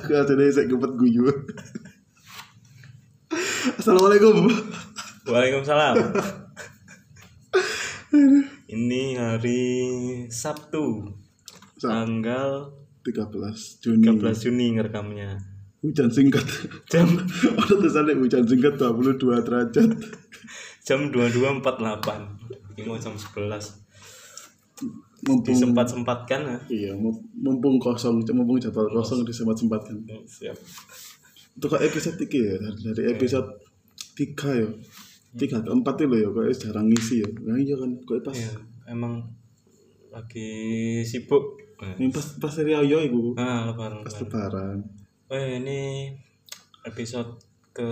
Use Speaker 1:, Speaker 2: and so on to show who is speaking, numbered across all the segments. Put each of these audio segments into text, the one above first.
Speaker 1: Aku ada saya gempet guyu. Assalamualaikum.
Speaker 2: Waalaikumsalam. Ini hari Sabtu,
Speaker 1: Saat
Speaker 2: tanggal
Speaker 1: 13 Juni.
Speaker 2: 13 Juni ngerekamnya.
Speaker 1: Hujan singkat.
Speaker 2: Jam
Speaker 1: Ada tulisannya hujan singkat 22 derajat.
Speaker 2: jam 22.48. Ini mau jam 11.
Speaker 1: Mumpung
Speaker 2: Disempat-sempatkan ya.
Speaker 1: Iya, mum- mumpung kosong, mumpung jadwal kosong disempat-sempatkan.
Speaker 2: Siap.
Speaker 1: Itu kok episode 3 ya, dari, dari episode 3 ya. 3 ke 4 itu loh ya, kok jarang ngisi ya. Nah, iya kan, kok pas
Speaker 2: Ya, emang lagi sibuk.
Speaker 1: ini pas pas dari ayo iku.
Speaker 2: Nah, lebaran.
Speaker 1: Pas lebaran.
Speaker 2: lebaran. Eh, ini episode ke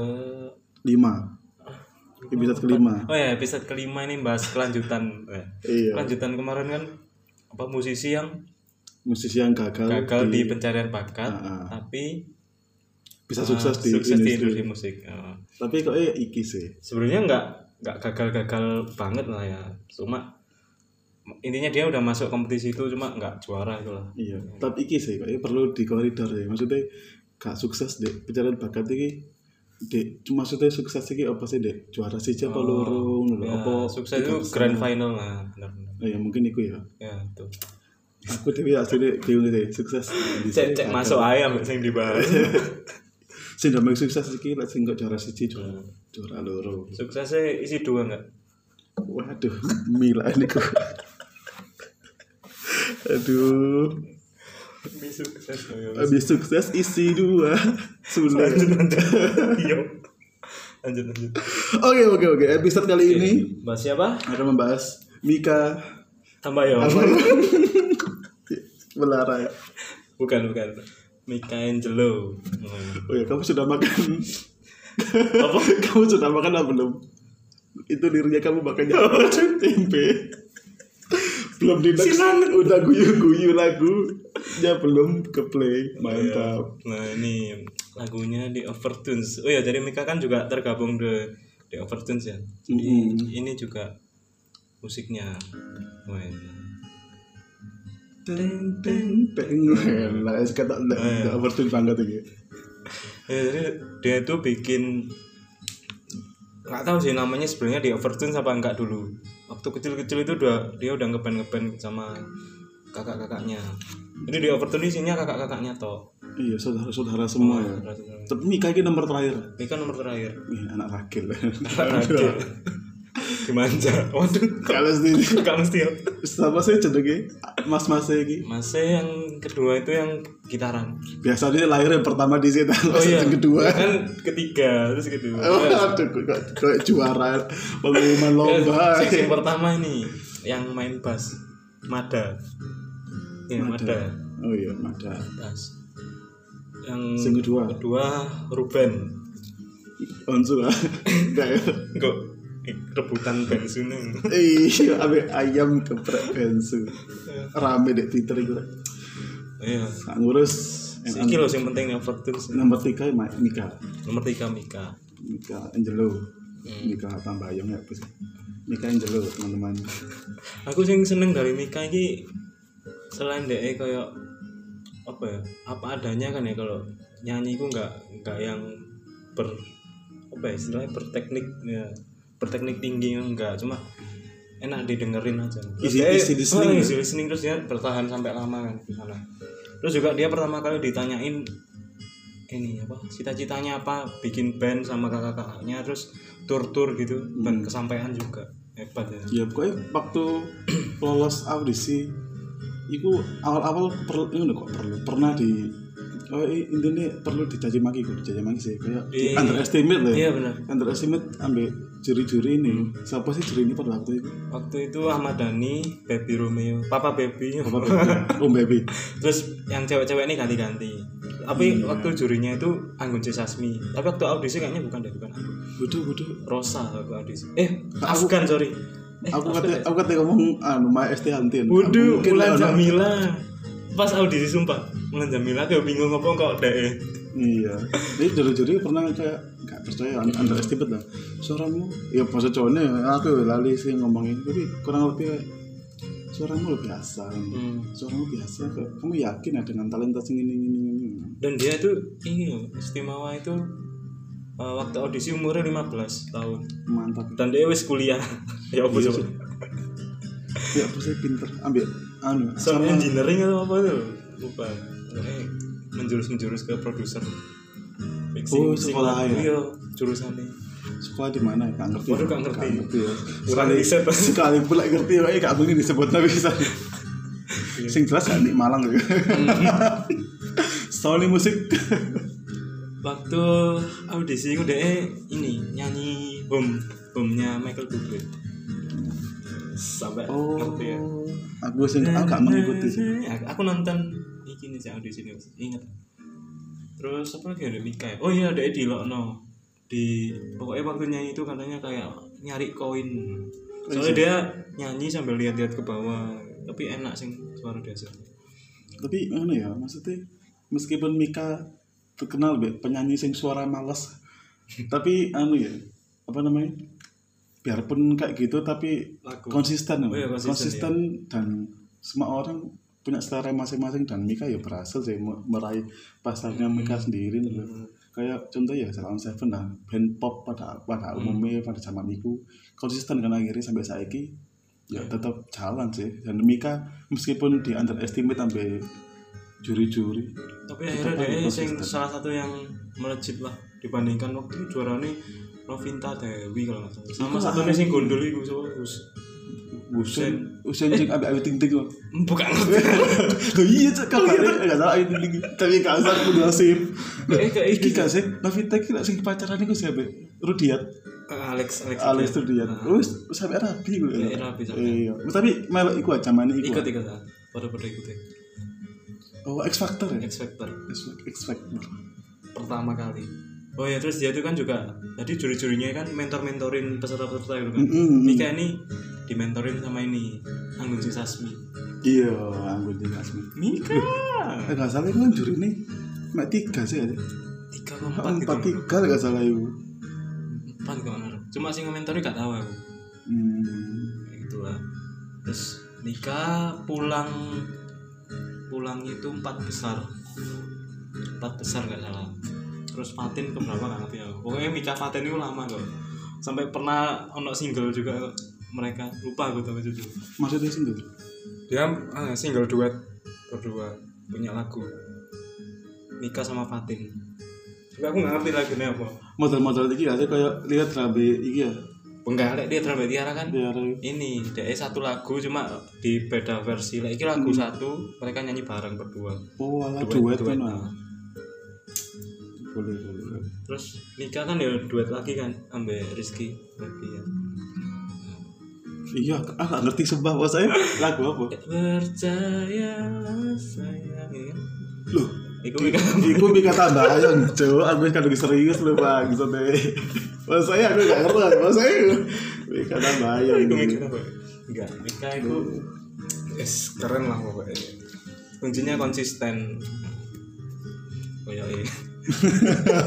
Speaker 1: 5. Episode kelima.
Speaker 2: Oh ya, episode kelima ini bahas kelanjutan. Eh,
Speaker 1: Iya,
Speaker 2: Kelanjutan kemarin kan apa musisi yang
Speaker 1: musisi yang gagal,
Speaker 2: gagal
Speaker 1: di-
Speaker 2: di, pencarian bakat
Speaker 1: Ah, ah.
Speaker 2: tapi
Speaker 1: bisa
Speaker 2: uh,
Speaker 1: sukses di
Speaker 2: sukses di
Speaker 1: industri.
Speaker 2: industri musik Uh,
Speaker 1: Tapi kok eh, iki sih.
Speaker 2: sebenarnya nggak nggak gagal-gagal banget lah ya cuma intinya dia udah masuk kompetisi itu cuma nggak juara itu lah
Speaker 1: Iya, tapi iki sih kayaknya perlu di koridor ya. Maksudnya gak sukses dek pencarian bakat iki dek cuma maksudnya sukses iki apa sih dek juara sih apa
Speaker 2: Oh,
Speaker 1: lurung lho,
Speaker 2: Ya,
Speaker 1: apa
Speaker 2: sukses
Speaker 1: tiga
Speaker 2: itu
Speaker 1: besar.
Speaker 2: grand final lah benar-benar
Speaker 1: Oh, ya mungkin iku ya
Speaker 2: ya tuh
Speaker 1: aku tapi asli bingung deh sukses Di
Speaker 2: cek
Speaker 1: sini
Speaker 2: cek
Speaker 1: gagal.
Speaker 2: masuk ayam yang dibahas
Speaker 1: sing ndak make sukses iki lek sing kok juara siji juara
Speaker 2: Hmm.
Speaker 1: juara loro
Speaker 2: suksesnya isi dua nggak
Speaker 1: waduh mila ini kok aduh
Speaker 2: ini sukses
Speaker 1: habis sukses isi dua sudah
Speaker 2: lanjut lanjut Yo. Iya. lanjut lanjut
Speaker 1: Oke oke oke episode kali ini
Speaker 2: bahas siapa
Speaker 1: akan membahas Mika
Speaker 2: tambah ya
Speaker 1: Belara.
Speaker 2: bukan bukan Michelangelo Hmm.
Speaker 1: Oh ya kamu sudah makan
Speaker 2: apa
Speaker 1: kamu sudah makan apa belum? Itu dirinya kamu makannya apa? tempe. belum di
Speaker 2: Sinan.
Speaker 1: udah guyu guyu lagu ya belum ke play mantap.
Speaker 2: nah ini lagunya di Overtunes oh ya jadi Mika kan juga tergabung di di Overtunes ya jadi
Speaker 1: Mm-mm.
Speaker 2: ini juga musiknya Wah,
Speaker 1: Teng teng teng lah es kata nggak nggak overtune banget ini.
Speaker 2: ya, jadi dia itu bikin nggak tahu sih namanya sebenarnya di Overtunes apa enggak dulu waktu kecil-kecil itu udah dia udah ngeband ngeband sama kakak-kakaknya jadi di Overtunes isinya kakak-kakaknya toh
Speaker 1: Iya saudara saudara semua
Speaker 2: Oh,
Speaker 1: ya.
Speaker 2: iya.
Speaker 1: Tapi Mika ini nomor terakhir.
Speaker 2: Mika nomor terakhir
Speaker 1: Ih, anak rakil.
Speaker 2: Raja. Dimanja. Waduh.
Speaker 1: Kalau sendiri
Speaker 2: Gak mesti ya.
Speaker 1: sama saya cenderung mas mas saya ini
Speaker 2: Masih yang kedua itu yang gitaran.
Speaker 1: biasanya lahir yang pertama di situ terus yang kedua Oh,
Speaker 2: Kan Oh, ketiga terus kedua.
Speaker 1: aduh kok kayak juara pengumuman
Speaker 2: Iya,
Speaker 1: lomba
Speaker 2: Yang, yang pertama ini yang main bass. Mada. Ya, Mada.
Speaker 1: oh iya mada
Speaker 2: Bass. Yang
Speaker 1: yang kedua
Speaker 2: kedua Ruben.
Speaker 1: onsu lah Nggak ya?
Speaker 2: Enggak rebutan band Suneng.
Speaker 1: iya abe ayam geprek bensu rame deh twitter itu
Speaker 2: Iya.
Speaker 1: Nggak ngurus yang
Speaker 2: Iki loh yang penting yang Fortunes.
Speaker 1: nomor tiga Ma- Mika
Speaker 2: Nomor tiga Mika.
Speaker 1: Mika Angelo Mika Tambayong ya apa sih Mika Angelo teman-teman
Speaker 2: aku sing seneng dari Mika ini selain deh kayak apa ya apa adanya kan ya kalau nyanyi itu nggak nggak yang ber apa ya istilahnya berteknik ya, berteknik tinggi enggak cuma enak didengerin aja Terus
Speaker 1: Easy-
Speaker 2: dia-
Speaker 1: easy listening
Speaker 2: oh,
Speaker 1: ya?
Speaker 2: easy listening terus dia bertahan sampai lama kan di sana terus juga dia pertama kali ditanyain ini apa cita-citanya apa bikin band sama kakak-kakaknya terus tur-tur gitu
Speaker 1: Hmm.
Speaker 2: dan kesampaian juga hebat
Speaker 1: ya
Speaker 2: ya
Speaker 1: pokoknya waktu lolos audisi itu awal-awal perlu ini kok perlu pernah di oh i- intinya perlu dicaci maki kok dicaci maki sih kayak di
Speaker 2: Iya.
Speaker 1: underestimate lah ya
Speaker 2: iya Hmm. benar
Speaker 1: underestimate ambil juri-juri ini siapa sih juri ini pada waktu itu
Speaker 2: Waktu itu Ahmad Dhani, Baby Romeo, Papa Baby,
Speaker 1: apa baby oh baby
Speaker 2: terus yang cewek-cewek ini ganti-ganti. Tapi
Speaker 1: Hmm.
Speaker 2: waktu jurinya itu Anggun C Sasmi. Tapi waktu audisi kayaknya bukan deh, bukan aku.
Speaker 1: waduh waduh
Speaker 2: Rosa waktu audisi. Eh, Afgan sorry. Eh,
Speaker 1: aku kata aku kata ngomong anu my ST Antin
Speaker 2: Waduh,
Speaker 1: Mungkin
Speaker 2: Mulan
Speaker 1: lah, no.
Speaker 2: Jamila. Pas audisi sumpah, Mulan Jamila kayak bingung ngomong kok deh.
Speaker 1: iya jadi juri-juri pernah kayak nggak percaya un- underestimate lah suaramu ya pas cowoknya aku lali sih ngomongin tapi kurang lebih kayak, suaramu lo biasa
Speaker 2: Hmm.
Speaker 1: suaramu biasa kok kamu yakin ya dengan talenta sing ini ini ini ini?
Speaker 2: dan dia itu ini loh, istimewa itu uh, waktu audisi umurnya 15 tahun
Speaker 1: mantap
Speaker 2: dan dia wis kuliah ya apa
Speaker 1: Iya,
Speaker 2: sih
Speaker 1: sih. ya aku saya pinter ambil anu
Speaker 2: sound
Speaker 1: sama-
Speaker 2: engineering atau apa itu lupa eh, menjurus menjurus ke produser mixing
Speaker 1: Oh,
Speaker 2: mixing
Speaker 1: sekolah
Speaker 2: lagu,
Speaker 1: ya?
Speaker 2: iya jurusannya
Speaker 1: sekolah di mana gak ngerti
Speaker 2: Waduh, gak ngerti.
Speaker 1: ya
Speaker 2: Kurang
Speaker 1: sekali
Speaker 2: riset.
Speaker 1: sekali pula ngerti wae gak bengi disebut tapi bisa
Speaker 2: Iya. Hmm.
Speaker 1: sing jelas gak nih Malang gitu Soalnya musik
Speaker 2: waktu audisi itu dia ini nyanyi home home nya Michael Bublé sampai
Speaker 1: oh
Speaker 2: ngerti ya
Speaker 1: aku sih aku gak mengikuti sih
Speaker 2: Hmm, Aku, aku nonton iki nih sih audisi ini inget. Terus apa lagi ada Mika ya? Oh iya ada di Lokno. Di pokoknya waktu nyanyi itu katanya kayak nyari koin. Soalnya
Speaker 1: Iya.
Speaker 2: dia nyanyi sambil lihat-lihat ke bawah. Tapi enak sih suara dia sih.
Speaker 1: tapi anu ya maksudnya meskipun Mika terkenal be penyanyi sing suara malas tapi anu ya apa namanya biarpun kayak gitu tapi
Speaker 2: Lagu.
Speaker 1: konsisten
Speaker 2: Oh iya, konsisten,
Speaker 1: dan semua orang punya selera masing-masing dan Mika ya berhasil sih me- meraih pasarnya Mika
Speaker 2: Hmm.
Speaker 1: sendiri loh kayak contoh ya Salon Seven lah band pop pada
Speaker 2: Hmm.
Speaker 1: pada umumnya pada zaman itu konsisten kan akhirnya sampai saiki ya
Speaker 2: Hmm.
Speaker 1: tetap jalan sih dan Mika meskipun di underestimate sampai juri-juri
Speaker 2: Tapi akhirnya
Speaker 1: Tetap
Speaker 2: dia
Speaker 1: konsisten.
Speaker 2: sing salah satu yang melejit lah dibandingkan waktu itu juaranya Novinta Dewi kalau nggak salah. Sama
Speaker 1: Iku
Speaker 2: satu nih sing gondol itu siapa?
Speaker 1: usen usen cek
Speaker 2: Eh.
Speaker 1: ambil ayu ting ting loh
Speaker 2: Bukan ngerti.
Speaker 1: Loh, iya cek
Speaker 2: Oh,
Speaker 1: kabarnya nggak salah ayu ting ting tapi nggak usah aku gosip
Speaker 2: Eh, kayak
Speaker 1: iki
Speaker 2: iki
Speaker 1: gak sih Novita iki lak sing pacaran iku siapa Rudiat
Speaker 2: Alex Alex
Speaker 1: alias Rudiat wis sampai rabi gue
Speaker 2: Iya, rabi sampai.
Speaker 1: iya tapi melok iku aja mana iku
Speaker 2: ikut ikut ah. pada pada ikut ya.
Speaker 1: oh X Factor ya
Speaker 2: X Factor
Speaker 1: X Factor
Speaker 2: pertama kali oh ya terus dia itu kan juga tadi juri-jurinya kan mentor-mentorin peserta-peserta gitu kan
Speaker 1: Mm-mm.
Speaker 2: Mika ini dimentorin sama ini Anggun Sasmi
Speaker 1: iya anggun di Asmi
Speaker 2: Mika
Speaker 1: eh nggak salah iku kan juri nih mak tiga sih ya Oh,
Speaker 2: tiga atau empat gitu
Speaker 1: empat
Speaker 2: loh.
Speaker 1: tiga nggak salah ibu
Speaker 2: empat kalau nggak salah. cuma sih ngomentori gak tahu aku
Speaker 1: hmm.
Speaker 2: Ya, gitulah terus Mika pulang pulang itu empat besar empat besar gak salah terus Fatin keberapa gak ngerti aku pokoknya Mika Fatin itu lama kok sampai pernah ono single juga mereka lupa aku tahu judul
Speaker 1: maksudnya sih gitu
Speaker 2: dia ah, single duet berdua punya lagu Mika sama Fatin tapi aku gak ngerti lagunya apa
Speaker 1: model-model iki gak sih kayak lihat rabi iki ya
Speaker 2: penggalek dia terlalu tiara kan
Speaker 1: biar
Speaker 2: ini dia eh, satu lagu cuma di beda versi lah ini lagu satu mereka nyanyi bareng berdua
Speaker 1: oh ala duet kan
Speaker 2: nah.
Speaker 1: ah. boleh boleh
Speaker 2: terus Mika kan ya duet lagi kan ambil Rizky Febian
Speaker 1: iya aku aku nggak ngerti sebab saya lagu apa
Speaker 2: percaya sayang ini kan
Speaker 1: loh
Speaker 2: itu Mika
Speaker 1: Iku mika tambah ayo cowok aku kan lagi serius lu bang sampai mas saya aku gak ngerti mas saya mika tambah ayo
Speaker 2: itu Mika apa ya? enggak Mika itu es keren lah pokoknya kuncinya konsisten kayak ini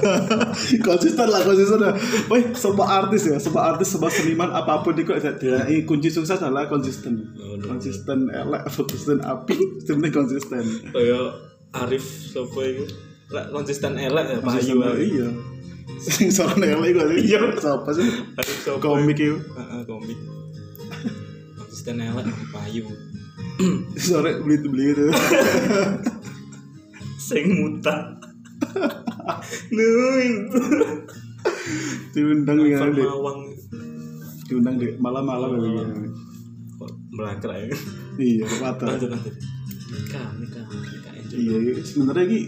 Speaker 1: konsisten lah konsisten lah woi semua artis ya semua artis semua seniman apapun itu dia ini Iya, kunci sukses adalah konsisten
Speaker 2: Oh, no.
Speaker 1: konsisten elek konsisten api sebenarnya konsisten
Speaker 2: kayak Arif siapa itu Lek konsisten elek ya Pak
Speaker 1: Konsisten,
Speaker 2: Ayu Arif
Speaker 1: iya sing soal elek itu iya siapa sih
Speaker 2: siapa
Speaker 1: komik itu
Speaker 2: Heeh, komik konsisten elek payu
Speaker 1: sore beli beli itu
Speaker 2: sing muta nuin
Speaker 1: diundang dengan deh
Speaker 2: mawang
Speaker 1: diundang deh malam-malam ya begini.
Speaker 2: kok melangkah ya
Speaker 1: iya patah
Speaker 2: lanjut lanjut Mika Mika Mika Angel
Speaker 1: Iya, iya. sebenarnya ini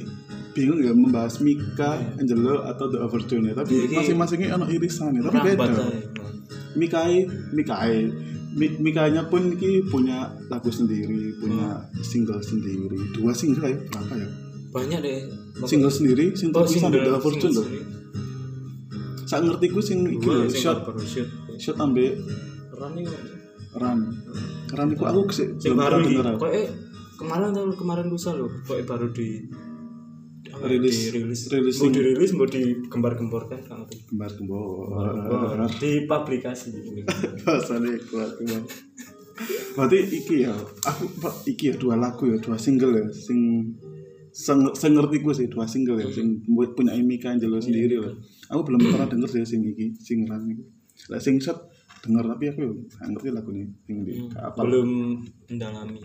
Speaker 1: bingung ya membahas Mika,
Speaker 2: Iya.
Speaker 1: Angelo atau The Overtune ya. Tapi
Speaker 2: Jadi-
Speaker 1: masing-masingnya ono irisannya, tapi
Speaker 2: rambat
Speaker 1: beda.
Speaker 2: Iya, aja.
Speaker 1: Mikai, Mikai, Mi- Mikanya pun ki punya lagu sendiri, punya
Speaker 2: Iya.
Speaker 1: single sendiri. Dua single ya, berapa ya?
Speaker 2: banyak deh
Speaker 1: Single sendiri, single sampai The Overtune loh.
Speaker 2: Oh, sendiri.
Speaker 1: Saya ngerti gue sing iki
Speaker 2: Dua
Speaker 1: lho,
Speaker 2: single
Speaker 1: shot
Speaker 2: baru shoot
Speaker 1: shot ambe
Speaker 2: Ran ini kan.
Speaker 1: run. Run iku aku sih
Speaker 2: sing
Speaker 1: belum
Speaker 2: baru
Speaker 1: tahu
Speaker 2: ini
Speaker 1: beneran.
Speaker 2: kok eh kemarin atau kemarin lusa loh kok eh, baru di apa ya,
Speaker 1: Rilis.
Speaker 2: dirilis
Speaker 1: Rilis
Speaker 2: mau
Speaker 1: sing-
Speaker 2: dirilis mau digembar-gemborkan kan
Speaker 1: Kembar kembar.
Speaker 2: di publikasi
Speaker 1: Bahasanya kuat kembar. berarti iki ya aku Pak, iki ya dua lagu ya dua single ya sing sing, sing ngerti gue sih dua single ya sing buat punya Mika Angelo sendiri lah aku belum pernah denger sih sing iki sing run iki lah sing set denger tapi aku ya nggak ngerti lagu ini sing di
Speaker 2: Hmm.
Speaker 1: apa
Speaker 2: belum mendalami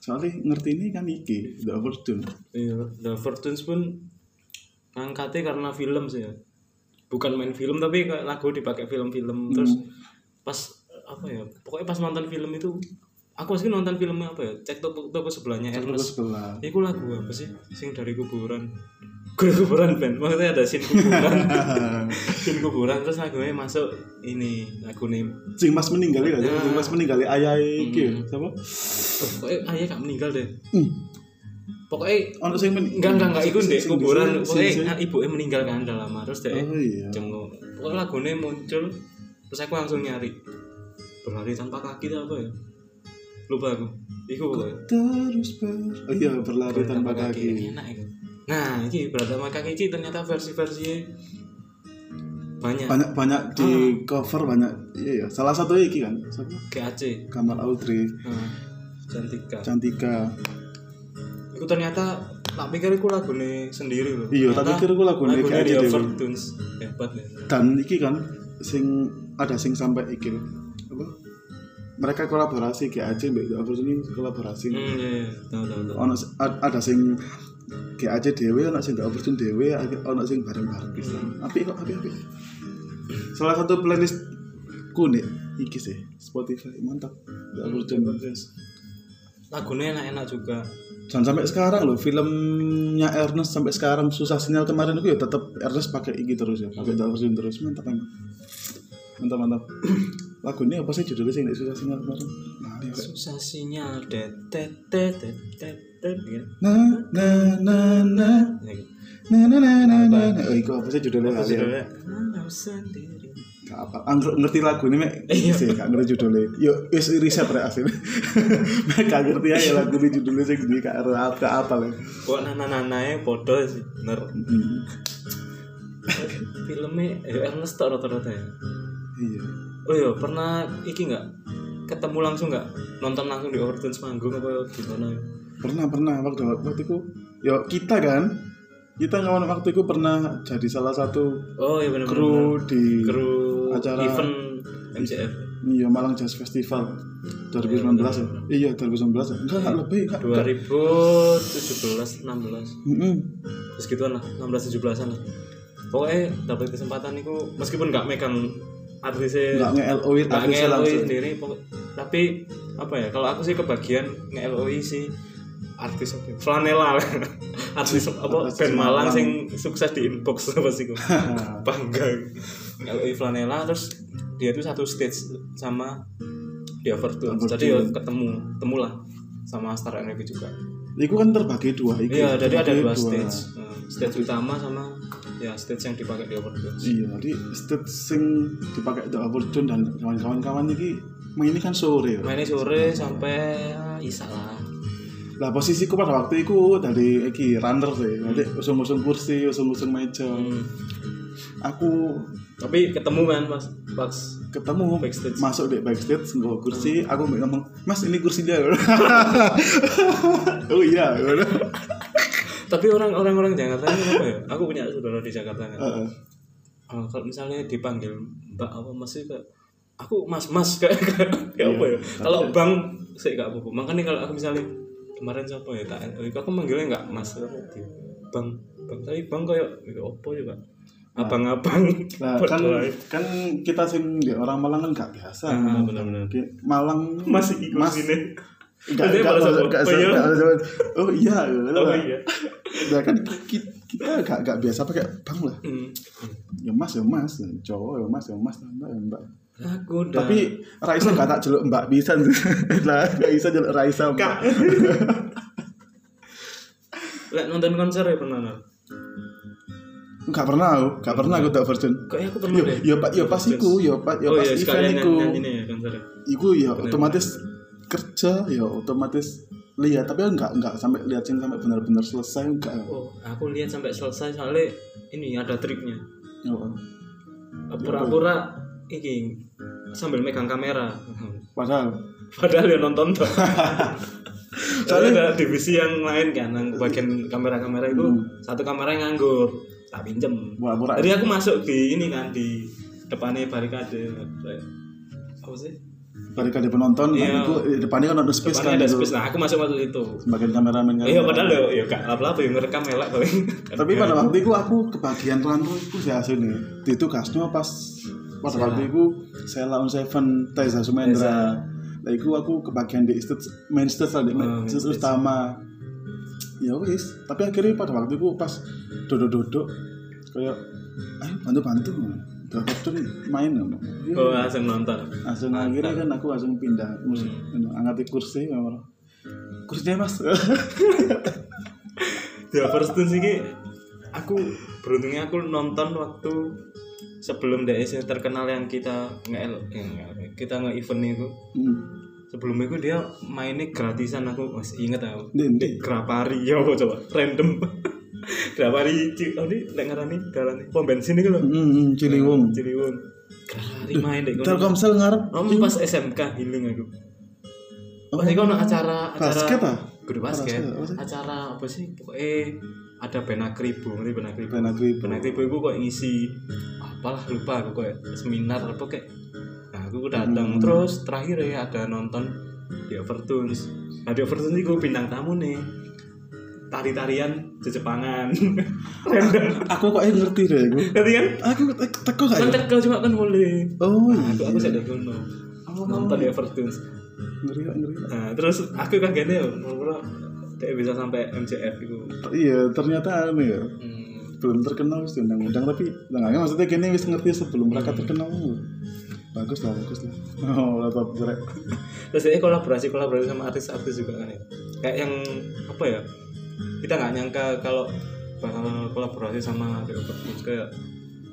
Speaker 1: soalnya ngerti ini kan iki the overdone
Speaker 2: Iya, The Fortunes pun ngangkatnya karena film sih ya. Bukan main film tapi kayak lagu dipakai film-film terus pas apa ya? Pokoknya pas nonton film itu aku sih nonton filmnya apa ya? Cek toko toko sebelahnya
Speaker 1: lagu
Speaker 2: Ernest.
Speaker 1: sebelah
Speaker 2: Iku lagu apa sih? Sing dari kuburan. Gue kuburan band. Maksudnya ada scene kuburan.
Speaker 1: eh,
Speaker 2: scene kuburan terus lagunya masuk ini lagu nih.
Speaker 1: sing mas meninggal ya sing mas meninggal ayah iki ya siapa
Speaker 2: Pokoknya ayah gak meninggal deh.
Speaker 1: Hmm.
Speaker 2: Pokoknya
Speaker 1: ono sing men-
Speaker 2: enggak enggak enggak iku
Speaker 1: sing-
Speaker 2: ndek
Speaker 1: sing-
Speaker 2: kuburan
Speaker 1: sing- sing-
Speaker 2: pokoknya ibuke meninggal kan dalam terus dek
Speaker 1: oh iya
Speaker 2: jenguk pokoknya lagunya muncul terus aku langsung nyari berlari tanpa kaki itu apa ya lupa aku iku pokoknya.
Speaker 1: terus ber oh iya berlari tanpa kaki
Speaker 2: enak iku nah iki berlari tanpa kaki iki ternyata versi-versi banyak
Speaker 1: banyak banyak di cover banyak iya ya salah satu iki kan siapa
Speaker 2: GAC
Speaker 1: Kamal Audrey
Speaker 2: nah, cantika
Speaker 1: Cantika
Speaker 2: Iku ternyata tak pikir iku lagune sendiri loh
Speaker 1: Iya, tak pikir iku lagune
Speaker 2: lagune
Speaker 1: GAC
Speaker 2: di
Speaker 1: dhewe.
Speaker 2: Overtunes hebat ya
Speaker 1: dan iki kan sing ada sing sampai iki apa mereka kolaborasi GAC mbek The Opportunity kolaborasi
Speaker 2: hmm iya iya tahu tahu tahu
Speaker 1: ono s- ad- ada sing GAC dhewe ono sing The Opportunity dhewe ag- ono sing bareng-bareng pisan apik kok apik apik salah satu playlist ku nih iki sih Spotify mantap The Opportunity
Speaker 2: lagunya enak-enak juga
Speaker 1: dan sampai sekarang loh filmnya Ernest sampai sekarang susah sinyal kemarin itu ya tetap Ernest pakai IG terus ya pakai Dalversion terus mantap emang mantap mantap lagu ini apa sih judulnya sih Nggak susah sinyal kemarin nah, ini apa?
Speaker 2: susah sinyal det det det det det det gitu.
Speaker 1: na na na na
Speaker 2: Ya, gitu.
Speaker 1: na na na na na na oh itu apa sih judulnya
Speaker 2: Terus
Speaker 1: kali ya
Speaker 2: judulnya, Kalau sendiri.
Speaker 1: Nggak apa angker Ah, ngerti lagu ini mek
Speaker 2: Iya.
Speaker 1: sih nggak ngerti judulnya yuk wis riset rek asin mek nggak ngerti aja lagu ini judulnya sih gini kak apa apa lah
Speaker 2: kok nana-nananya bodoh sih bener filmnya eh, Ernest tak rata-rata ya
Speaker 1: iya
Speaker 2: oh iya pernah iki nggak ketemu langsung nggak nonton langsung di Overtones manggung apa gimana
Speaker 1: pernah pernah waktu waktu itu ya kita kan kita kawan waktu itu pernah jadi salah satu
Speaker 2: oh iya bener
Speaker 1: kru di
Speaker 2: kru
Speaker 1: acara-
Speaker 2: event MCF
Speaker 1: iya Malang Jazz Festival 2019 ya iya 2019 ya enggak enggak lebih enggak
Speaker 2: 2017 16 terus
Speaker 1: Mm-mm.
Speaker 2: gituan lah 16 17-an lah pokoknya dapat kesempatan itu meskipun nggak megang artisnya
Speaker 1: enggak nge LO in
Speaker 2: nggak
Speaker 1: artisnya
Speaker 2: nge-LOI
Speaker 1: langsung
Speaker 2: sendiri pokok- tapi apa ya kalau aku sih kebagian nge-LOI sih artis apa ya? Flanela artis apa
Speaker 1: Artis
Speaker 2: band
Speaker 1: Malang.
Speaker 2: Malang sing sukses di inbox apa sih kok
Speaker 1: Haha.
Speaker 2: bangga nge-LOI Flanela terus dia tuh satu stage sama di Overtune
Speaker 1: Overtune.
Speaker 2: jadi ya ketemu ketemu lah sama Star Energy juga
Speaker 1: itu kan terbagi dua itu
Speaker 2: iya jadi ada
Speaker 1: terbagi
Speaker 2: dua stage Eh, stage utama sama ya stage yang dipakai di Overtune
Speaker 1: iya jadi stage sing dipakai The Overtune dan kawan-kawan-kawan ini mainnya kan sore ya.
Speaker 2: mainnya sore sampai isak lah
Speaker 1: lah posisiku pada waktu itu dari iki runner sih nanti usung-usung kursi usung-usung meja
Speaker 2: Hmm.
Speaker 1: aku
Speaker 2: tapi ketemu kan pas pas
Speaker 1: ketemu
Speaker 2: Backstage.
Speaker 1: masuk di backstage nggak kursi aku mbak ngomong mas ini kursi dia oh iya
Speaker 2: tapi orang orang orang Jakarta ini apa ya aku punya saudara di Jakarta kan
Speaker 1: Heeh.
Speaker 2: Eh, kalau misalnya dipanggil mbak apa mas itu kayak, aku mas mas kayak kayak kayak
Speaker 1: Iya,
Speaker 2: apa ya kalau
Speaker 1: kan
Speaker 2: bang saya nggak apa-apa makanya kalau aku misalnya kemarin siapa ya tak aku manggilnya nggak mas aku di- bang bang tapi bang kayak kayak apa ya pak abang-abang
Speaker 1: nah kan kan kita sing di orang Malang kan nggak biasa
Speaker 2: Ah, benar-benar.
Speaker 1: Di Malang
Speaker 2: masih ikut
Speaker 1: mas
Speaker 2: sini
Speaker 1: nggak
Speaker 2: Dia
Speaker 1: nggak
Speaker 2: bahasa
Speaker 1: usah- nggak usah-
Speaker 2: apa ya?
Speaker 1: nggak usah- oh iya gitu.
Speaker 2: oh iya
Speaker 1: nah kan ki- kita nggak nggak biasa pakai bang lah
Speaker 2: Hmm.
Speaker 1: ya mas ya mas cowok ya mas ya mas mbak ya mbak
Speaker 2: aku udah
Speaker 1: tapi Raisa nggak tak jeluk mbak bisa lah nggak bisa jeluk Raisa mbak
Speaker 2: Lek nonton konser ya pernah Nal?
Speaker 1: Enggak pernah aku, enggak pernah aku tak version.
Speaker 2: kayaknya ya, aku pernah
Speaker 1: Yo,
Speaker 2: deh
Speaker 1: yo, pa- yo pas iku, yo, pa- yo
Speaker 2: oh
Speaker 1: pas
Speaker 2: iya
Speaker 1: event
Speaker 2: sekalian
Speaker 1: iku,
Speaker 2: nyanyi nih ya konser
Speaker 1: iku ya otomatis kerja, ya otomatis lihat, tapi aku enggak enggak sampai lihat sing sampai benar-benar selesai enggak.
Speaker 2: oh aku lihat sampai selesai soalnya ini ada triknya
Speaker 1: Yo,
Speaker 2: pura-pura ini sambil megang kamera
Speaker 1: padahal
Speaker 2: padahal ya nonton tuh soalnya ada divisi yang lain kan yang bagian kamera-kamera itu
Speaker 1: Hmm.
Speaker 2: satu kamera yang nganggur tak pinjem
Speaker 1: Wah, murah.
Speaker 2: jadi aku masuk di ini kan di depannya barikade Kayak, apa sih
Speaker 1: Barikade penonton, nah,
Speaker 2: Iya.
Speaker 1: itu eh, depannya kan ada space kan.
Speaker 2: depannya ada
Speaker 1: itu.
Speaker 2: space nah aku masuk waktu itu
Speaker 1: Bagian kameramen kan.
Speaker 2: iya padahal ya ya gak apa-apa yang ngerekam elek paling
Speaker 1: Tapi
Speaker 2: Ya.
Speaker 1: pada waktu Kan itu aku kebagian rantau itu sih aslinya. Itu kasnya pas pada waktu itu saya lawan Seven Teza Sumendra. Lah itu aku kebagian di stage main stage lah di main
Speaker 2: Oh,
Speaker 1: stage
Speaker 2: main stage.
Speaker 1: utama. Ya wis, tapi akhirnya pada waktu itu pas duduk-duduk kayak ayo bantu-bantu. Berapa tuh main ngomong. Iya.
Speaker 2: oh langsung nonton
Speaker 1: langsung akhirnya kan aku langsung pindah anu, musik angkat kursi ngomong kursinya Hmm. mas
Speaker 2: The Overstones ini aku beruntungnya aku nonton waktu sebelum DS terkenal yang kita nge eh, nge- kita nge event itu
Speaker 1: Hmm.
Speaker 2: sebelum itu dia mainnya gratisan aku masih inget aku
Speaker 1: Ndi, ndi.
Speaker 2: di Grapari ya apa coba random Grapari Ci- oh ini lek ngarani darani pom bensin itu loh
Speaker 1: Hmm, Ciliwung
Speaker 2: Ciliwung Grapari main deh
Speaker 1: Telkomsel ngarep
Speaker 2: Om pas SMK healing aku pas itu ada acara acara
Speaker 1: basket ah
Speaker 2: guru basket
Speaker 1: Basket, apa sih?
Speaker 2: acara apa sih pokoknya ada benak ribu ngerti benak ribu
Speaker 1: Pena Gripo
Speaker 2: benak ribu itu Nah, kok ngisi apalah lupa aku kayak seminar apa kayak nah aku datang
Speaker 1: Hmm.
Speaker 2: terus terakhir ya ada nonton di Overtunes nah di Overtunes itu bintang tamu nih tari-tarian Jejepangan random
Speaker 1: aku kok eh, ngerti deh aku
Speaker 2: ngerti kan
Speaker 1: aku eh, teko gak
Speaker 2: kan
Speaker 1: ya
Speaker 2: tekel cuma kan boleh
Speaker 1: oh
Speaker 2: nah aku, aku
Speaker 1: iya
Speaker 2: sedang ngono
Speaker 1: Oh,
Speaker 2: nonton di Overtunes
Speaker 1: ngeri gak, ngeri gak.
Speaker 2: nah terus aku kagetnya "Oh, mulu dia bisa sampai MCF itu
Speaker 1: iya ternyata anu ya
Speaker 2: gitu." Hmm.
Speaker 1: belum terkenal wis diundang-undang tapi enggaknya maksudnya kini wis ngerti sebelum
Speaker 2: Hmm.
Speaker 1: mereka terkenal bagus lah bagus lah oh laptop jerek
Speaker 2: terus ini kolaborasi kolaborasi sama artis-artis juga kan ya kayak yang apa ya kita nggak nyangka kalau bakal kolaborasi sama The Overtones kayak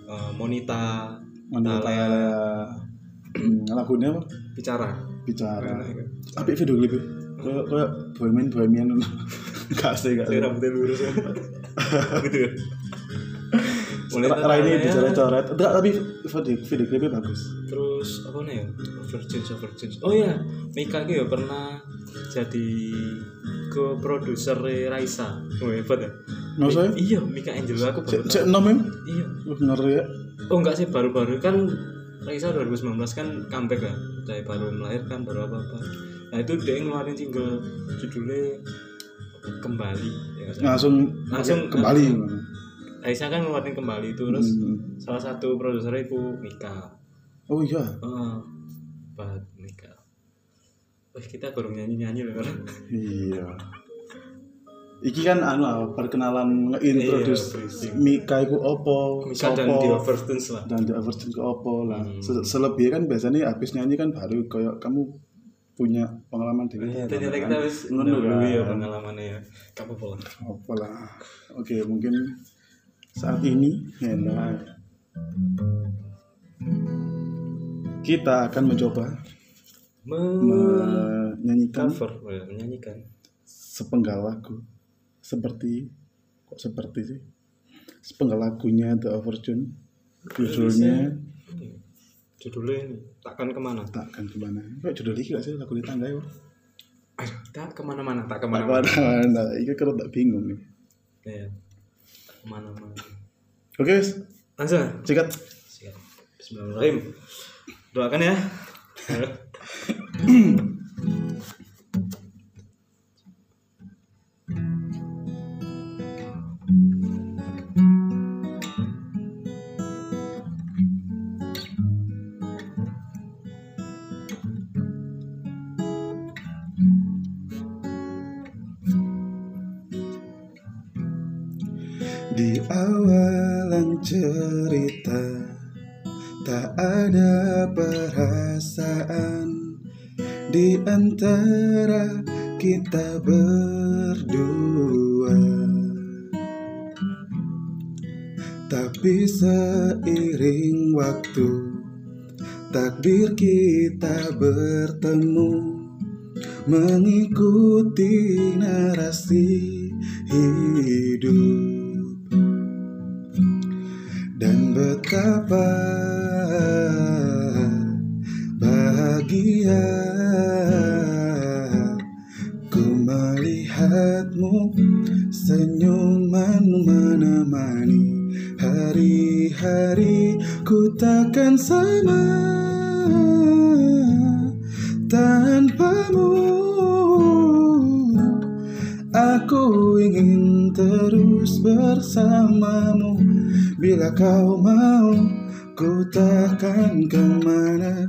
Speaker 2: eh, Monita
Speaker 1: menurut
Speaker 2: Tala.
Speaker 1: saya hmm, lagunya apa
Speaker 2: bicara
Speaker 1: bicara
Speaker 2: Enak, kan?
Speaker 1: apik video klip kayak kayak bohemian bohemian gak sih gak sih
Speaker 2: Saya rambutnya lurus kan. gitu ya Monita
Speaker 1: Ra- Raini
Speaker 2: Tala,
Speaker 1: bicara coret enggak tapi video video klipnya bagus
Speaker 2: terus apa nih ya Overtones Overtones oh iya Mika itu ya pernah jadi ke produser Raisa oh hebat ya
Speaker 1: maksudnya
Speaker 2: iya Mika Angelo aku baru
Speaker 1: cek
Speaker 2: tahu.
Speaker 1: cek nomem
Speaker 2: iya
Speaker 1: Wah, ngeri ya
Speaker 2: Oh enggak sih baru-baru kan Raisa 2019 kan comeback kan dari baru melahirkan baru apa apa. Nah itu dia ngeluarin single judulnya kembali. Ya, nggak salah.
Speaker 1: langsung
Speaker 2: Langsung-
Speaker 1: kembali
Speaker 2: Raisa kan ngeluarin kembali itu terus
Speaker 1: Hmm.
Speaker 2: salah satu produsernya itu Mika.
Speaker 1: oh iya
Speaker 2: Heeh. Bat Mika. Wah kita kurang nyanyi nyanyi loh. Bro.
Speaker 1: iya Iki kan anu ah, perkenalan nge-introduce
Speaker 2: Iya, briefing.
Speaker 1: Mika iku opo,
Speaker 2: Mika dan
Speaker 1: sopo,
Speaker 2: The Overtones lah.
Speaker 1: dan di Everton ke opo lah.
Speaker 2: Hmm.
Speaker 1: Se- Selebihnya kan biasanya habis nyanyi kan baru kayak kamu punya pengalaman di kan?
Speaker 2: Ternyata Iya, kita harus
Speaker 1: Nah.
Speaker 2: mendahului ya pengalamannya ya. Kamu pulang.
Speaker 1: Opo lah. Oke, mungkin saat ini enak. Kita akan mencoba Nah. menyanyikan
Speaker 2: Cover, ya, menyanyikan.
Speaker 1: sepenggal lagu seperti kok seperti sih sepenggal lagunya The Overtune judulnya
Speaker 2: judulnya ini takkan kemana
Speaker 1: takkan kemana kok judul iki gak sih lagu di tangga ya
Speaker 2: Ayo, tak kemana-mana tak kemana-mana
Speaker 1: mana iki kalau tak bingung nih
Speaker 2: Iya. Tak kemana-mana
Speaker 1: oke wis
Speaker 2: langsung ya?
Speaker 1: sikat
Speaker 2: siap Bismillahirrahmanirrahim doakan ya Ayo.
Speaker 1: Di awalan cerita Tak ada perasaan Di antara kita berdua Tapi seiring waktu Takdir kita bertemu Mengikuti narasi hidup dan betapa bahagia sama tanpamu Aku ingin terus bersamamu Bila kau mau ku takkan kemana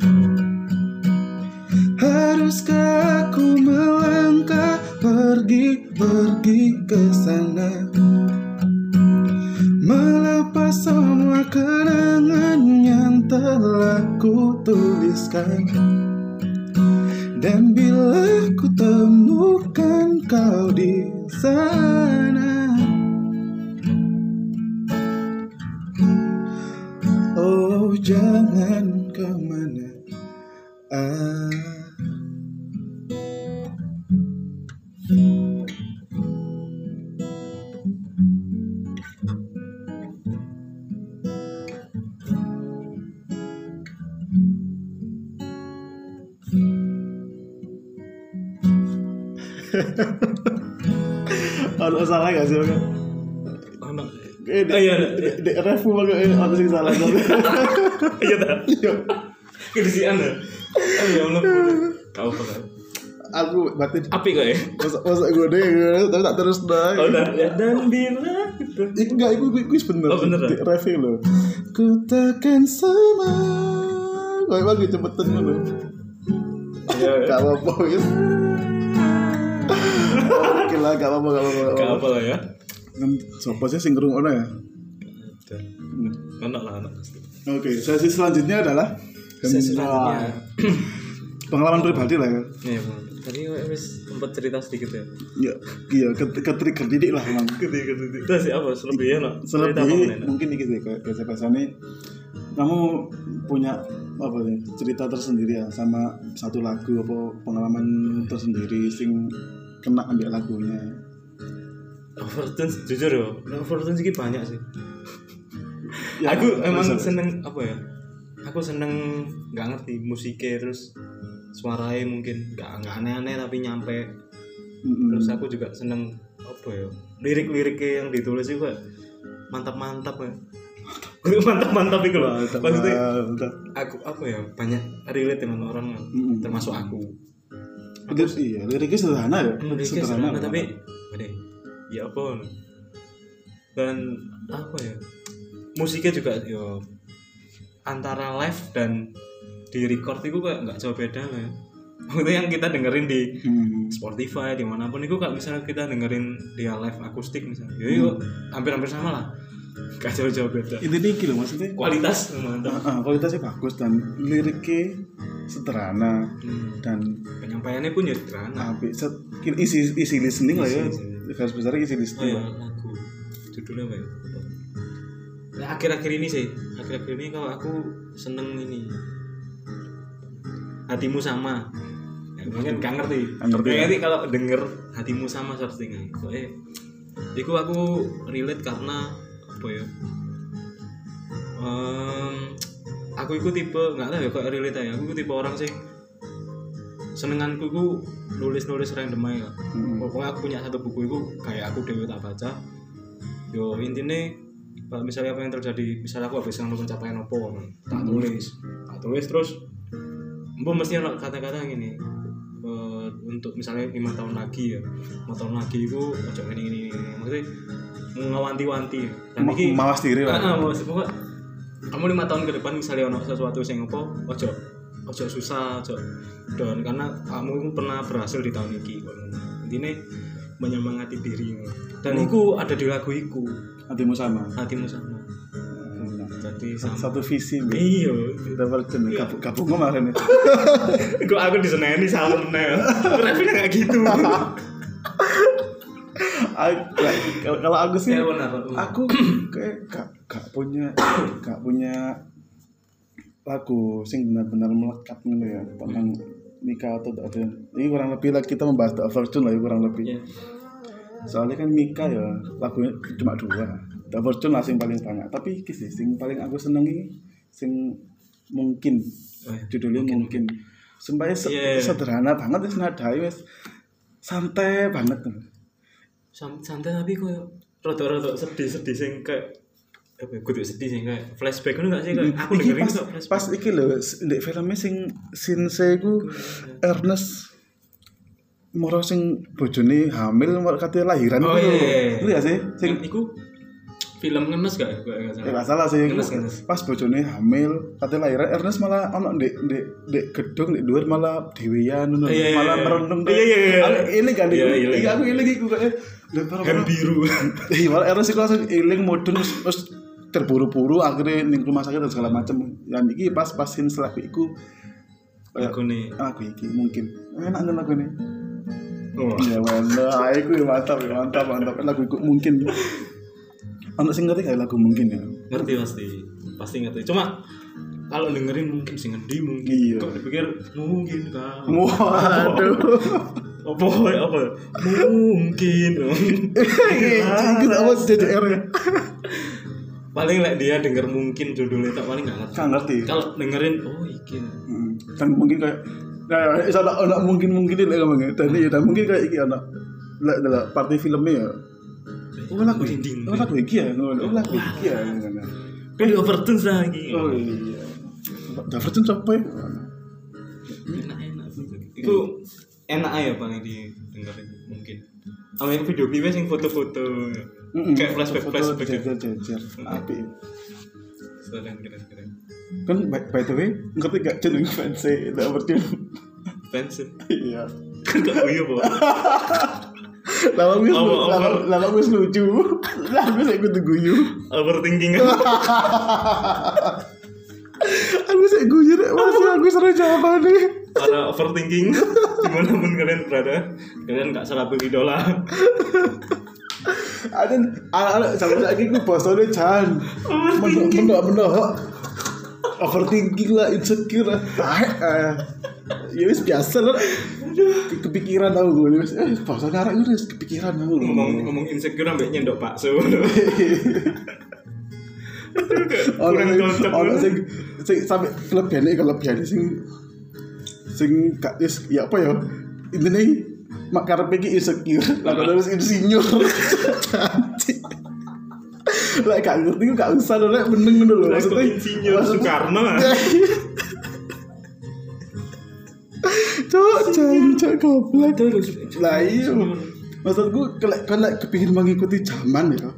Speaker 1: Haruskah aku melangkah pergi pergi ke sana Melepas semua kenangan yang telah ku tuliskan Dan bila ku temukan kau di sana Oh jangan kemana ah. Ono salah gak sih? Bang?
Speaker 2: Ono.
Speaker 1: Eh,
Speaker 2: Oh, iya,
Speaker 1: di- di- di- Refu banget eh, ono sing salah.
Speaker 2: Iya ta.
Speaker 1: Iya.
Speaker 2: Kedisian ya. Oh ya Allah. Kau apa kau?
Speaker 1: Aku batin
Speaker 2: Api kau ya.
Speaker 1: masa masa gue deh gue- tapi tak terus dah.
Speaker 2: Oh dan dan bila gitu.
Speaker 1: Ih, Enggak, itu gue gue bener.
Speaker 2: Oh, bener,
Speaker 1: Di review lo. Ku takkan sama. Gue bagi cepetan dulu.
Speaker 2: Ya, ya.
Speaker 1: Gak apa-apa gitu. Oke lah, gak apa-apa, gak apa-apa.
Speaker 2: Gak apa lah ya.
Speaker 1: Kan Sopo sih sing ngerung ono ya?
Speaker 2: Anak lah anak pasti.
Speaker 1: Oke, sesi selanjutnya adalah
Speaker 2: Sesi
Speaker 1: Wah,
Speaker 2: selanjutnya.
Speaker 1: Pengalaman pribadi lah ya.
Speaker 2: Nih, Iya, Bang. tadi gue wis sempat cerita sedikit ya.
Speaker 1: Iya, iya, ke, ke trigger didik lah emang.
Speaker 2: Gede gede. Itu sih apa? Selebihnya nak. Cerita apa
Speaker 1: Selebih
Speaker 2: Nek?
Speaker 1: mungkin ini sih kayak biasa biasanya kamu punya apa sih cerita tersendiri ya sama satu lagu apa pengalaman tersendiri sing kena ambil lagunya
Speaker 2: Overtones jujur ya. Overtones ini banyak sih.
Speaker 1: Ya,
Speaker 2: aku emang
Speaker 1: terus-
Speaker 2: seneng apa ya aku seneng nggak ngerti musiknya terus suaranya mungkin nggak nggak aneh-aneh tapi nyampe
Speaker 1: Mm-mm.
Speaker 2: terus aku juga seneng apa ya lirik-liriknya yang ditulis juga mantap-mantap ya mantap-mantap itu loh
Speaker 1: Mantap,
Speaker 2: maksudnya
Speaker 1: mantap.
Speaker 2: aku apa ya banyak relate dengan orang
Speaker 1: Mm-mm.
Speaker 2: termasuk aku Mm,
Speaker 1: itu iya liriknya sederhana ya
Speaker 2: liriknya sederhana tapi Waduh, ya apa dan apa ya musiknya juga yo antara live dan di record itu kayak nggak jauh beda lah ya. Maksudnya yang kita dengerin di
Speaker 1: Hmm.
Speaker 2: Spotify dimanapun itu kayak misalnya kita dengerin dia live akustik misalnya yo yo hampir-hampir sama lah nggak jauh-jauh beda
Speaker 1: ini nih gitu maksudnya
Speaker 2: kualitas mantap
Speaker 1: Ah, ah, kualitasnya bagus dan liriknya sederhana
Speaker 2: Hmm,
Speaker 1: dan
Speaker 2: penyampaiannya pun ya sederhana
Speaker 1: apik. Nah, Set- isi isi listening lah ya
Speaker 2: Isi- isi.
Speaker 1: garis besarnya isi
Speaker 2: Oh
Speaker 1: listening
Speaker 2: ya, lagu judulnya apa ya? Lupa. Nah, akhir-akhir ini sih, akhir-akhir ini kalau aku seneng ini hatimu sama. Ya, mungkin gak ngerti.
Speaker 1: Gak ngerti,
Speaker 2: Gak
Speaker 1: ya?
Speaker 2: ngerti kalau denger hatimu sama searching Soalnya, itu aku relate karena apa ya? Em, aku itu tipe nggak tahu ya kok relate aja. Aku itu tipe orang sih senenganku itu nulis-nulis random aja
Speaker 1: Mm-mm.
Speaker 2: pokoknya aku punya satu buku itu kayak aku dewe tak baca yo intinya kalau misalnya apa yang terjadi misalnya aku habis ngelakuin pencapaian apa tak tulis tak tulis terus mbak mesti ada kata-kata gini eh, untuk misalnya lima tahun lagi ya lima tahun lagi itu ojo ini ini ini maksudnya ngawanti-wanti dan
Speaker 1: Ma-
Speaker 2: ini
Speaker 1: mawas diri lah
Speaker 2: Ah, ah, maksud- pokok- kamu lima tahun ke depan misalnya ono sesuatu sing opo ojo ojo susah ojo don karena kamu pernah berhasil di tahun ini kok ngono. intine menyemangati dirimu
Speaker 1: Hmm.
Speaker 2: dan iku ada di lagu iku
Speaker 1: hatimu sama
Speaker 2: hatimu sama jadi sama
Speaker 1: satu visi Bi.
Speaker 2: iya
Speaker 1: kita bertemu gabung gabung kemarin ya
Speaker 2: kok aku diseneni salah meneh tapi nggak gitu
Speaker 1: Aku- kalau kalau aku sih
Speaker 2: ya benar benar.
Speaker 1: aku kayak gak, gak punya gak punya lagu sing benar-benar melekat gitu ya tentang Mika atau tidak ada ini kurang lebih lah kita membahas The Fortune lah ya, kurang lebih
Speaker 2: Ya.
Speaker 1: soalnya kan Mika ya lagunya cuma dua The Fortune lah sing paling banyak tapi iki sih sing paling aku senengi sing mungkin
Speaker 2: Oh, ya.
Speaker 1: judulnya mungkin, Sumpahnya se-
Speaker 2: Iya.
Speaker 1: sederhana banget wis nadai wis santai banget
Speaker 2: Sam- santai tapi kok rada-rada sedih-sedih sing kayak apa ya, kudu sedih sih kayak flashback ngono gak sih kayak Iya, aku
Speaker 1: Hmm. Iki
Speaker 2: dengerin
Speaker 1: pas,
Speaker 2: kok
Speaker 1: pas
Speaker 2: flashback.
Speaker 1: iki lho ndek filmnya sing Sinse
Speaker 2: Iya,
Speaker 1: ku Ernest Moro sing bojone hamil mau katanya lahiran
Speaker 2: Oh,
Speaker 1: ku lho.
Speaker 2: iya, iya, iya.
Speaker 1: Itu ya sih sing
Speaker 2: Yang iku film ngenes gak ya
Speaker 1: Ya
Speaker 2: kayak gak salah.
Speaker 1: gak salah sih.
Speaker 2: Ngenes, ngenes.
Speaker 1: Pas bojone hamil, katanya lahiran Ernest malah ono ndek ndek ndek gedung ndek dhuwur malah dhewean ngono.
Speaker 2: Iya, iya,
Speaker 1: Malah
Speaker 2: iya.
Speaker 1: merenung.
Speaker 2: Iya, iya, iya.
Speaker 1: Aku iling kan
Speaker 2: Iya,
Speaker 1: iku.
Speaker 2: iling.
Speaker 1: Iya, aku iling iku kok.
Speaker 2: Hem biru.
Speaker 1: Iya, malah Ernest iku langsung iling mudun terus- terus terburu-buru akhirnya ning rumah sakit dan segala macem. Dan iki pas pasin setelah iku kayak,
Speaker 2: Aku nih.
Speaker 1: lagu iki mungkin enak kan lagu ini
Speaker 2: Wah.
Speaker 1: ya wala aku mantap ya, mantap mantap lagu iku mungkin anak sing ngerti gak lagu mungkin ya
Speaker 2: ngerti pasti pasti ngerti cuma kalau dengerin mungkin sih ngendi mungkin
Speaker 1: Iya.
Speaker 2: kok dipikir mungkin kan
Speaker 1: Waduh.
Speaker 2: apa apa mungkin
Speaker 1: Eh. Iku apa DDR ya?
Speaker 2: paling lah dia denger mungkin judulnya tak paling nggak ngerti
Speaker 1: Kan ngerti.
Speaker 2: kalau dengerin oh iki
Speaker 1: Hmm. Dan mungkin kayak nah iso ana ana mungkin mungkin lek ngomongnya. Dan iya dan mungkin kayak iki ana lek dalam party filmnya ya. Oh lagu
Speaker 2: dinding
Speaker 1: Oh lagu iki ya ngono. Oh lagu iki ya ngono.
Speaker 2: kan overtune lagi
Speaker 1: Oh iya. Daverton siapa ya?
Speaker 2: enak enak itu enak aja paling didengerin mungkin sama yang video klipnya sing foto-foto
Speaker 1: Mm-mm.
Speaker 2: Kayak flashback,
Speaker 1: Foto-foto
Speaker 2: flashback. gitu. ya.
Speaker 1: Jejer-jejer. Api.
Speaker 2: sedang keren-keren
Speaker 1: Kan by, by the way, ngerti gak jeneng fans e Daverton?
Speaker 2: pensiun
Speaker 1: Iya.
Speaker 2: kan gak guyu po
Speaker 1: Lama wis
Speaker 2: Apa, apa?
Speaker 1: lama lama wis lucu. Lah wis kudu guyu.
Speaker 2: overthinking
Speaker 1: aku sih guyu deh masih aku seru jawabannya
Speaker 2: para overthinking dimanapun kalian berada kalian gak salah beli dolar
Speaker 1: ada anak-anak sampai saat ini bosone jan mendok
Speaker 2: overthinking
Speaker 1: mendok mendok overthinking lah insecure lah Ah, eh. ya wis biasa lah Ke- kepikiran aku gue wis eh bosone arek itu wis kepikiran aku lho.
Speaker 2: ngomong ngomong insecure sampai nyendok bakso
Speaker 1: Orang
Speaker 2: kurang
Speaker 1: sing-
Speaker 2: cocok
Speaker 1: orang
Speaker 2: banget.
Speaker 1: sing sing sampai kelebihan kelebihan sing sing gak is ya apa ya intinya mak karepe iki insecure lah kalau harus insinyur cantik lah gak ngerti gak usah lho lek meneng ngono lho
Speaker 2: Lah, kok
Speaker 1: maksudnya
Speaker 2: insinyur
Speaker 1: maksudnya-
Speaker 2: Soekarno ah?
Speaker 1: cok jancok goblok
Speaker 2: terus
Speaker 1: lah iya maksudku kalau kalau kepingin mengikuti zaman ya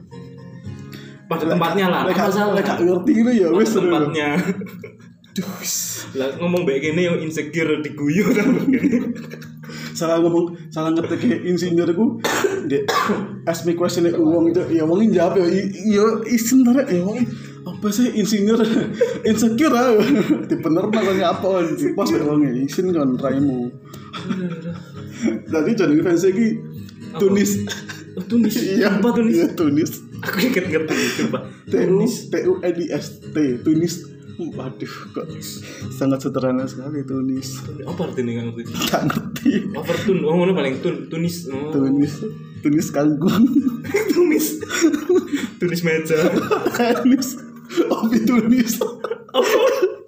Speaker 2: pada tempatnya lah
Speaker 1: lek
Speaker 2: apa
Speaker 1: gak
Speaker 2: salah
Speaker 1: lek gak ngerti ngono ya
Speaker 2: pada
Speaker 1: wis lho.
Speaker 2: tempatnya
Speaker 1: Duh.
Speaker 2: lah ngomong baik ini yang insecure diguyu
Speaker 1: salah ngomong salah ngetik ke insinyur ku dek ask me question nek uang itu ya wong jawab ya i- ya isin tarik ya wong apa sih insinyur insecure ah di bener nang kaya apa on di pos mek wong isin kon raimu tadi jadi fans iki Tunis
Speaker 2: Oh, Tunis
Speaker 1: iya
Speaker 2: apa Tunis
Speaker 1: iya Tunis
Speaker 2: aku inget ngerti coba
Speaker 1: Tunis T U N I S T Tunis waduh kok sangat sederhana sekali Tunis
Speaker 2: apa artinya nggak ngerti
Speaker 1: gak ngerti
Speaker 2: overtune oh mana paling tun Tunis oh.
Speaker 1: Tunis Tunis kangkung
Speaker 2: tulis tulis meja
Speaker 1: Tunis Opi Tunis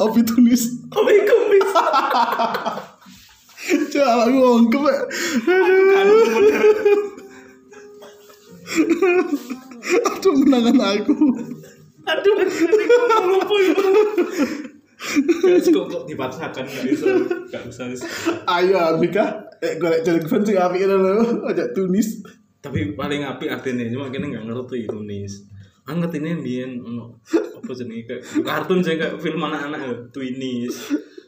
Speaker 1: Opi Tunis
Speaker 2: oh my kumis
Speaker 1: Jangan aku ongkep ya. Aduh menangan aku
Speaker 2: aduh ini ngomong apa ya Guys, kok kok dipaksakan nggak bisa nggak bisa
Speaker 1: Ayo Amika Eh gue lagi jadi fans yang api ini loh Ajak Tunis
Speaker 2: tapi paling apik artinya cuma kini nggak ngerti tunis aku ngerti ini bian ono apa jenis kayak kartun sih kayak film anak-anak ya, Twinis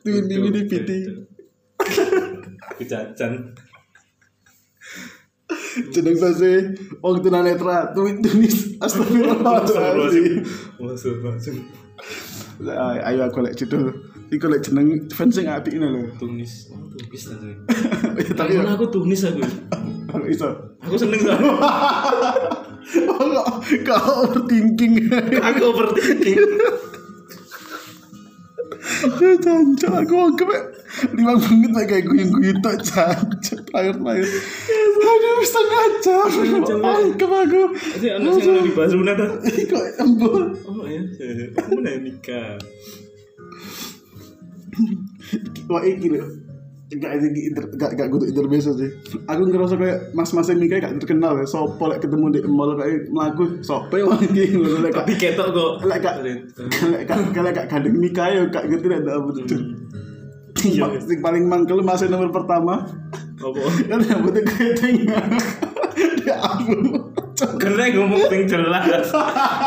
Speaker 1: Twini, Wini, Piti.
Speaker 2: kejajan
Speaker 1: Jeneng bahasa Wong tunanetra Tunis Tunis Astagfirullahaladzim
Speaker 2: Astagfirullahaladzim.
Speaker 1: Lah, Ayo aku lagi judul Iku lagi jeneng fans yang api ini loh
Speaker 2: Tunis oh, Tunis aja
Speaker 1: Ya,
Speaker 2: tapi
Speaker 1: Tapi ya
Speaker 2: aku Tunis aku
Speaker 1: Aku iso
Speaker 2: Aku seneng sama
Speaker 1: Kok kok overthinking
Speaker 2: aku overthinking.
Speaker 1: Ya jancok aku anggap ya, lima menit lah kayak guyung-guyung tok jancok terakhir-terakhir aduh setengah jam
Speaker 2: Setengah jam, ya.
Speaker 1: anggap aku
Speaker 2: Jadi anak sing lagi bahas benar ta?
Speaker 1: Ih, kok embul
Speaker 2: Oh ya, aku mau nikah.
Speaker 1: wah ini lho Enggak ini inter, enggak enggak kudu intermezzo sih. Aku ngerasa kayak mas-mas Mika gak terkenal ya. Sopo lek ketemu di mall kayak mlaku sopo ya iki ngono lek gak-
Speaker 2: tapi ketok kok
Speaker 1: Lah, Kak. lek gak kalau gak gandeng Mika ya gak ngerti lek apa itu.
Speaker 2: Iya.
Speaker 1: Sing paling mangkel masih nomor pertama.
Speaker 2: Apa?
Speaker 1: Kan yang penting kaiting. Ya ampun.
Speaker 2: Keren ngomong sing jelas.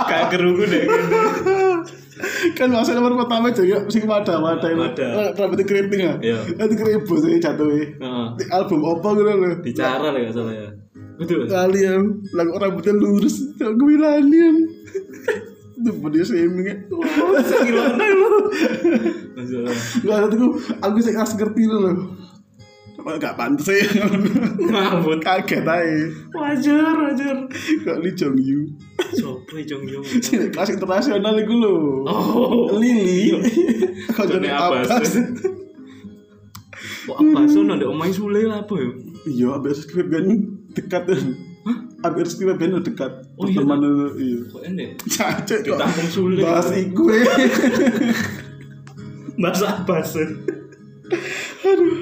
Speaker 2: Kayak kerugu deh. gitu.
Speaker 1: kan masa nomor pertama juga Ya, sing wadah wadah
Speaker 2: Wadah.
Speaker 1: wadah rambutnya keriting ya
Speaker 2: Iya.
Speaker 1: itu keribu sih jatuh
Speaker 2: Heeh.
Speaker 1: di album apa gitu loh
Speaker 2: Oh, Bicara ya salah ya. Betul.
Speaker 1: kalian lagu rambutnya lurus kalau gue bilangin itu body shaming ya
Speaker 2: Gila lu. Masalah.
Speaker 1: nggak ada tuh aku sih nggak ngerti loh Wah, gak pantas sih
Speaker 2: Ngabut.
Speaker 1: kaget aja
Speaker 2: Wajar, wajar.
Speaker 1: kok Lee Jong Yu
Speaker 2: Sopo Jong Yong.
Speaker 1: kelas internasional itu loh
Speaker 2: Oh.
Speaker 1: Lili kok
Speaker 2: Johnny
Speaker 1: jadi
Speaker 2: Abbas.
Speaker 1: apa sih
Speaker 2: Kok apa sih nanti omai sule lah apa ya?
Speaker 1: Iya, abis skrip kan dekat. Hah? Abis skrip kan dekat.
Speaker 2: Oh, iya.
Speaker 1: Teman itu, iya.
Speaker 2: Kok ini?
Speaker 1: Cacet kok.
Speaker 2: Ditampung sulit.
Speaker 1: Bahas iku. eh.
Speaker 2: Bahasa apa sih?
Speaker 1: Aduh.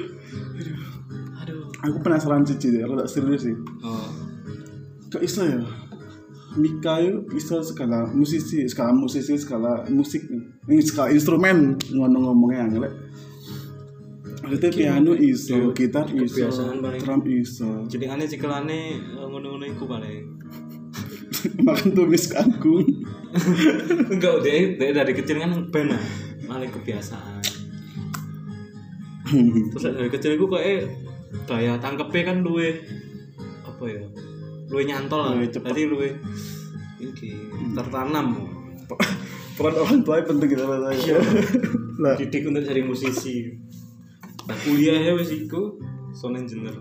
Speaker 2: Aduh.
Speaker 1: Aku penasaran cici deh, rada serius sih.
Speaker 2: Oh.
Speaker 1: Kok iso ya? Mika itu bisa skala musisi, skala musisi, skala musik, ini skala instrumen ngono ngomongnya angle. Ada piano iso, gitar iso,
Speaker 2: kebiasaan paling.
Speaker 1: drum iso,
Speaker 2: Jadi aneh cikelane eh, ngono-ngono iku paling.
Speaker 1: makan tumis kangkung.
Speaker 2: Enggak, dia, dia dari kecil kan benar, malah kebiasaan. Terus dari kecil gue kayak daya tangkepnya kan luwe apa ya? Luwe nyantol lah.
Speaker 1: Luwe cepet.
Speaker 2: Jadi luwe iki tertanam.
Speaker 1: Peran orang tua penting kita
Speaker 2: Iya.
Speaker 1: rasanya. Lah,
Speaker 2: Didik untuk jadi musisi. Nah, kuliahnya wis iku sound engineer.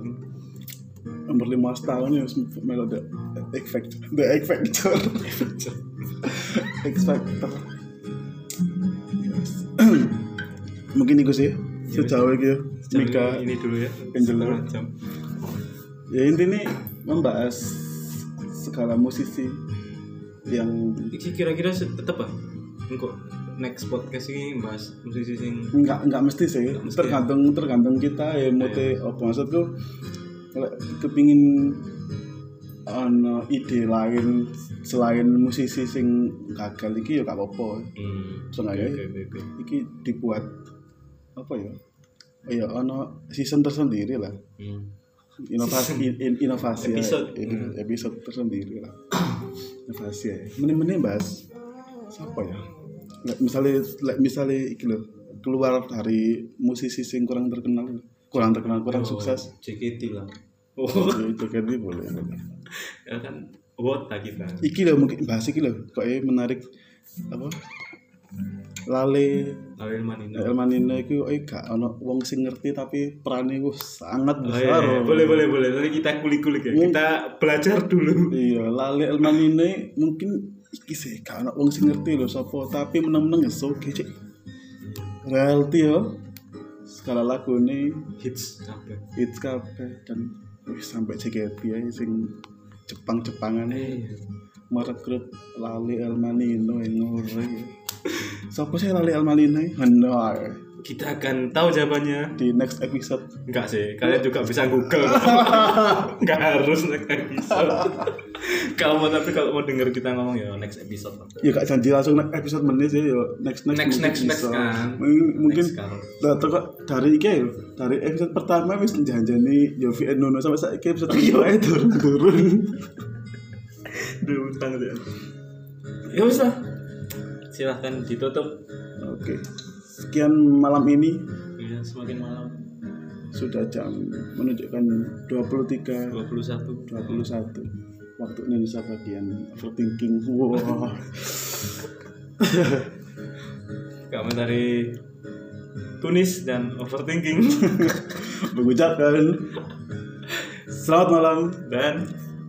Speaker 1: nomor lima tahun ya melo the X Factor the X Factor X Factor Yes. mungkin itu sih Iya. sejauh itu Mika
Speaker 2: ini dulu ya.
Speaker 1: Engineer.
Speaker 2: setengah jam.
Speaker 1: ya intinya membahas skala musisi yang
Speaker 2: Iki kira-kira se- tetep ah. Engko next podcast ini bahas musisi sing
Speaker 1: nggak nggak mesti sih
Speaker 2: Nggak mesti,
Speaker 1: tergantung tergantung kita ya mau teh apa maksudku kalau kepingin ono ide lain selain musisi sing gagal iki ya gak apa-apa
Speaker 2: hmm.
Speaker 1: Sengaja.
Speaker 2: Oke, oke, oke.
Speaker 1: iki dibuat apa ya Oh ya ono season tersendiri lah
Speaker 2: Hmm.
Speaker 1: inovasi in- in- inovasi ya.
Speaker 2: Episode.
Speaker 1: Ini episode tersendiri lah inovasi ya mending-mending bahas siapa ya Lek misalnya lek misalnya iki loh keluar dari musisi sing kurang terkenal kurang terkenal kurang
Speaker 2: Oh,
Speaker 1: sukses
Speaker 2: JKT lah oh
Speaker 1: ya itu kan ini boleh
Speaker 2: ya kan wota kita
Speaker 1: iki loh mungkin bahas iki loh kok menarik apa lale
Speaker 2: Ariel Manino
Speaker 1: El Manino itu eh gak ono wong sing ngerti tapi perannya wah sangat
Speaker 2: Oh,
Speaker 1: besar.
Speaker 2: iya, iya. boleh boleh boleh nanti kita kulik kulik ya
Speaker 1: Hmm.
Speaker 2: kita belajar dulu
Speaker 1: Iya, lali El Manino mungkin iki sih gak ono wong sing ngerti lho sapa tapi meneng-meneng ya oke cek. Reality yo. Skala lagu ini
Speaker 2: hits sampai
Speaker 1: hits kabeh dan wih sampai JKT ya sing Jepang-Jepangan
Speaker 2: eh
Speaker 1: merekrut Lali El Manino yang ngore. Sapa sih Lali El Manino? Heno ae.
Speaker 2: kita akan tahu jawabannya
Speaker 1: di next episode
Speaker 2: enggak sih kalian juga bisa google enggak harus next episode kalau mau tapi kalau mau denger kita ngomong ya next episode lah.
Speaker 1: ya gak janji langsung next episode menit sih ya next next
Speaker 2: Next,
Speaker 1: mungkin
Speaker 2: next, next,
Speaker 1: bisa.
Speaker 2: kan.
Speaker 1: mungkin mungkin
Speaker 2: next kan. kalau
Speaker 1: nah tuh kok dari iki ya dari episode pertama wis janjani Yofi and Nuno sampai saiki episode kedua ya turun turun
Speaker 2: Duh, utang deh. ya wis lah silahkan ditutup
Speaker 1: oke sekian malam ini
Speaker 2: ya, semakin malam
Speaker 1: sudah jam menunjukkan 23
Speaker 2: 21
Speaker 1: 21 waktu Indonesia bagian overthinking wah
Speaker 2: Kami dari Tunis dan overthinking
Speaker 1: mengucapkan selamat malam
Speaker 2: dan